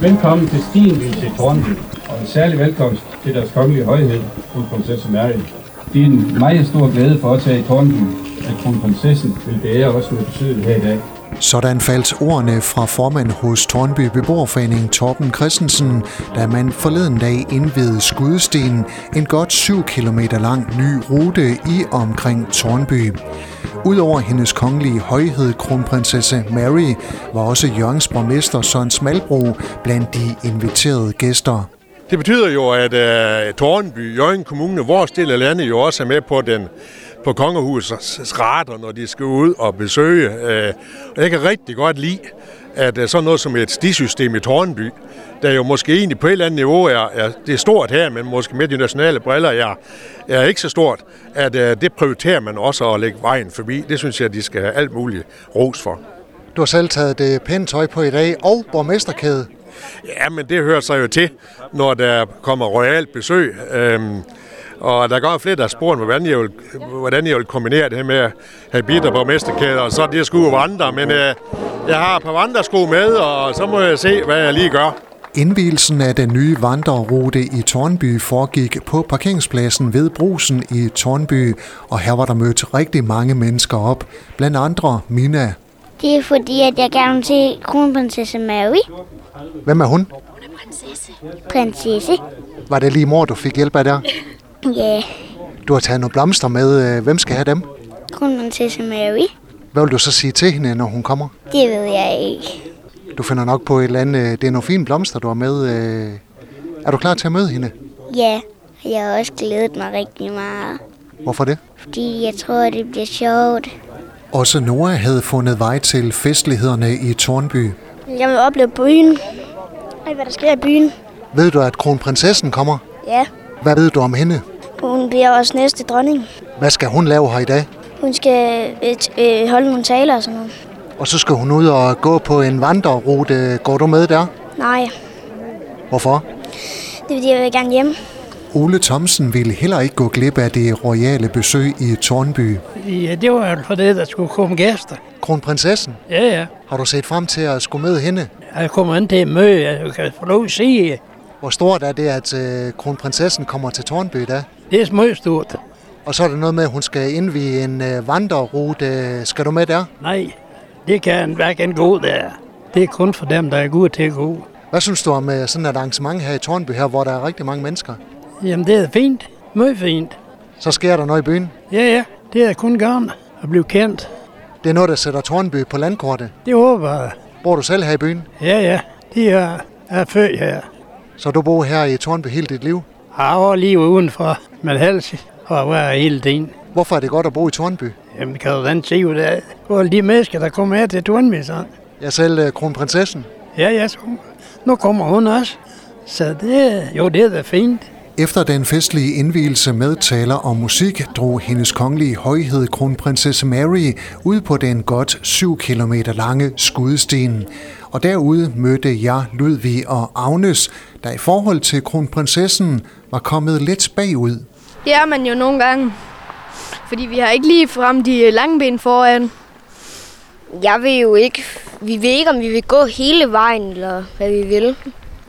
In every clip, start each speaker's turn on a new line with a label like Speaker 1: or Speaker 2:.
Speaker 1: Velkommen til Stienvise Tornby, og en særlig velkomst til deres kongelige højhed, kronprinsesse Mary. Det er en meget stor glæde for os her i Tornby, at kronprinsessen vil bære os med besøget her i dag.
Speaker 2: Sådan faldt ordene fra formand hos Tornby Beboerforening Torben Christensen, da man forleden dag indvidede Skudestenen, en godt 7 km lang ny rute i og omkring Tornby. Udover hendes kongelige højhed, kronprinsesse Mary, var også Jørgens borgmester Søren Smalbro blandt de inviterede gæster.
Speaker 3: Det betyder jo, at uh, Tornby, Jørgen Kommune, vores del af landet jo også er med på den på kongehusets rater, når de skal ud og besøge. Øh, og jeg kan rigtig godt lide, at øh, sådan noget som et stisystem i Tornby, der jo måske egentlig på et eller andet niveau er, er det er stort her, men måske med de nationale briller er, er ikke så stort, at øh, det prioriterer man også at lægge vejen forbi. Det synes jeg, de skal have alt muligt ros for.
Speaker 2: Du har selv taget det pænt tøj på i dag, og borgmesterkæde.
Speaker 3: Ja, men det hører sig jo til, når der kommer royalt besøg. Øhm, og der går flere, der har spurgt mig, hvordan jeg vil, hvordan jeg vil kombinere det her med at have bitter på mesterkæder, og så det skulle vandre. Men øh, jeg har et par vandresko med, og så må jeg se, hvad jeg lige gør.
Speaker 2: Indvielsen af den nye vandrerute i Tornby foregik på parkeringspladsen ved Brusen i Tornby, og her var der mødt rigtig mange mennesker op, blandt andre Mina.
Speaker 4: Det er fordi, at jeg gerne vil se kronprinsesse Mary.
Speaker 2: Hvem er hun?
Speaker 4: Prinsesse. Prinsesse?
Speaker 2: Var det lige mor, du fik hjælp af der?
Speaker 4: Ja.
Speaker 2: Du har taget nogle blomster med. Øh, Hvem skal have dem?
Speaker 4: Kronprinsesse Mary.
Speaker 2: Hvad vil du så sige til hende, når hun kommer?
Speaker 4: Det ved jeg ikke.
Speaker 2: Du finder nok på et eller andet... øh, Det er nogle fine blomster, du har med. Øh, Er du klar til at møde hende?
Speaker 4: Ja, jeg har også glædet mig rigtig meget.
Speaker 2: Hvorfor det?
Speaker 4: Fordi jeg tror, det bliver sjovt.
Speaker 2: Også Nora havde fundet vej til festlighederne i Tornby.
Speaker 5: Jeg vil opleve byen. Alt, hvad der sker i byen.
Speaker 2: Ved du, at kronprinsessen kommer?
Speaker 5: Ja.
Speaker 2: Hvad ved du om hende?
Speaker 5: Hun bliver også næste dronning.
Speaker 2: Hvad skal hun lave her i dag?
Speaker 5: Hun skal øh, t- øh, holde nogle taler og sådan noget.
Speaker 2: Og så skal hun ud og gå på en vandrerute. Går du med der?
Speaker 5: Nej,
Speaker 2: Hvorfor?
Speaker 5: det er fordi, jeg vil gerne hjem.
Speaker 2: Ole Thomsen ville heller ikke gå glip af det royale besøg i Tornby.
Speaker 6: Ja, det var jo for det, der skulle komme gæster.
Speaker 2: Kronprinsessen,
Speaker 6: Ja, ja.
Speaker 2: har du set frem til at skulle møde hende?
Speaker 6: Jeg kommer an til et møde, jeg kan få lov at sige.
Speaker 2: Hvor stort er det, at øh, kronprinsessen kommer til Tornby i dag?
Speaker 6: Det er smøstort.
Speaker 2: Og så er der noget med, at hun skal indvige en øh, vandrerute. Skal du med der?
Speaker 6: Nej, det kan hverken gå der. Det er kun for dem, der er gode til at gå.
Speaker 2: Hvad synes du om øh, sådan et arrangement her i Tornby, her, hvor der er rigtig mange mennesker?
Speaker 6: Jamen, det er fint. Mød fint.
Speaker 2: Så sker der noget i byen.
Speaker 6: Ja, ja. Det er kun gerne at blive kendt.
Speaker 2: Det er noget, der sætter Tornby på landkortet.
Speaker 6: Det håber jeg.
Speaker 2: Bor du selv her i byen?
Speaker 6: Ja, ja. De er, er født her.
Speaker 2: Så du bor her i Tornby hele dit liv?
Speaker 6: Har over lige udenfor med hals og været hele tiden.
Speaker 2: Hvorfor er det godt at bo i Tornby?
Speaker 6: Jamen, kan du da se ud af. Hvor de mennesker, der kommer her til Tornmisseren.
Speaker 2: Jeg er selv øh, kronprinsessen.
Speaker 6: Ja, ja, så nu kommer hun også. Så det, jo, det er da fint.
Speaker 2: Efter den festlige indvielse med taler og musik, drog hendes kongelige højhed kronprinsesse Mary ud på den godt 7 km lange skudesten. Og derude mødte jeg Ludvig og Agnes, der i forhold til kronprinsessen var kommet lidt bagud.
Speaker 7: Det er man jo nogle gange. Fordi vi har ikke lige frem de øh, lange ben foran.
Speaker 8: Jeg vil jo ikke, vi ved ikke, om vi vil gå hele vejen, eller hvad vi vil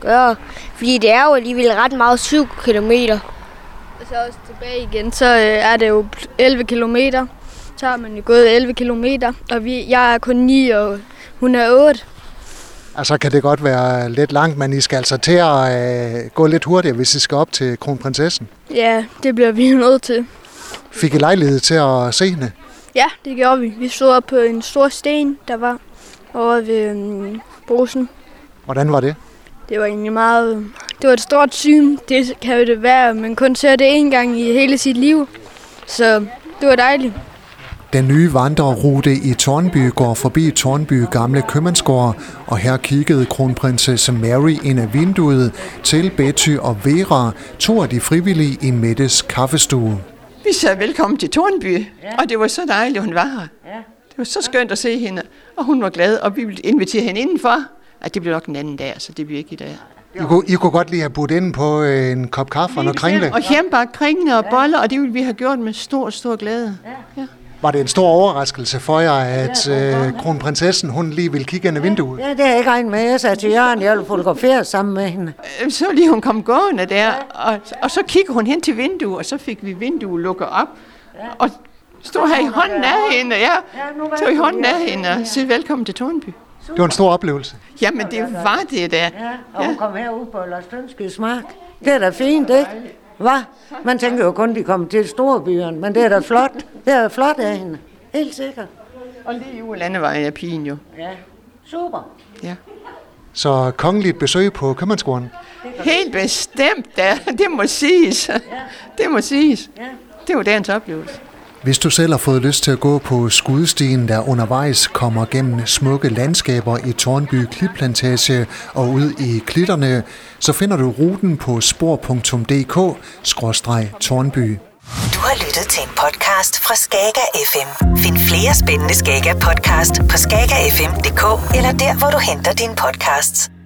Speaker 8: gøre. Fordi det er jo alligevel ret meget 7 km.
Speaker 7: Og så også tilbage igen, så øh, er det jo 11 kilometer. Så har man jo gået 11 kilometer, og vi, jeg er kun 9, og hun er 8.
Speaker 2: Altså kan det godt være lidt langt, men I skal altså til at øh, gå lidt hurtigere, hvis I skal op til kronprinsessen.
Speaker 7: Ja, det bliver vi jo nødt til.
Speaker 2: Fik I lejlighed til at se hende?
Speaker 7: Ja, det gjorde vi. Vi stod op på en stor sten, der var over ved øhm, brusen.
Speaker 2: Hvordan var det?
Speaker 7: Det var egentlig meget... øh, Det var et stort syn. Det kan jo det være, men kun ser det én gang i hele sit liv. Så det var dejligt.
Speaker 2: Den nye vandrerrute i Tornby går forbi Tornby Gamle Købmandsgård, og her kiggede kronprinsesse Mary ind af vinduet til Betty og Vera, to af de frivillige i Mettes kaffestue.
Speaker 9: Vi sagde velkommen til Tornby, ja. og det var så dejligt, hun var her. Ja. Det var så skønt at se hende, og hun var glad, og vi ville invitere hende indenfor. At det bliver nok en anden dag, så det bliver ikke i dag.
Speaker 2: I kunne, I kunne godt lige have budt ind på øh, en kop kaffe og noget kringle.
Speaker 9: Og hjemmebagt kringle og boller, og det ville vi have gjort med stor, stor glæde. Ja.
Speaker 2: Var det en stor overraskelse for jer, at øh, kronprinsessen hun lige ville kigge ind i vinduet?
Speaker 10: Ja, det har jeg ikke regnet med. Jeg sagde til Jørgen, jeg ville fotografere sammen med hende.
Speaker 9: Øh, Så lige hun kom gående der, og, og så kiggede hun hen til vinduet, og så fik vi vinduet lukket op. Og stod her i hånden af hende, ja. Stod i hånden af hende og sagde velkommen til Tornby.
Speaker 2: Det var en stor oplevelse.
Speaker 9: Jamen, det var det der.
Speaker 10: altså. Og hun kom herud på Lars Tønskes mark. Det er da fint, ikke? Hvad? Man tænker jo kun, de kommer til storbyerne, men det er da flot. Det er da flot af hende. Helt sikkert.
Speaker 9: Og lige ude landevejen er pigen jo.
Speaker 10: Ja, super.
Speaker 2: Så kongeligt besøg på købmandsgården.
Speaker 9: Helt bestemt da. Det må siges. Det må siges. Det var dagens oplevelse.
Speaker 2: Hvis du selv har fået lyst til at gå på skudstien, der undervejs kommer gennem smukke landskaber i Tornby Klitplantage og ud i klitterne, så finder du ruten på spor.dk-tornby.
Speaker 11: Du har lyttet til en podcast fra Skager FM. Find flere spændende Skager podcast på skagerfm.dk eller der, hvor du henter dine podcasts.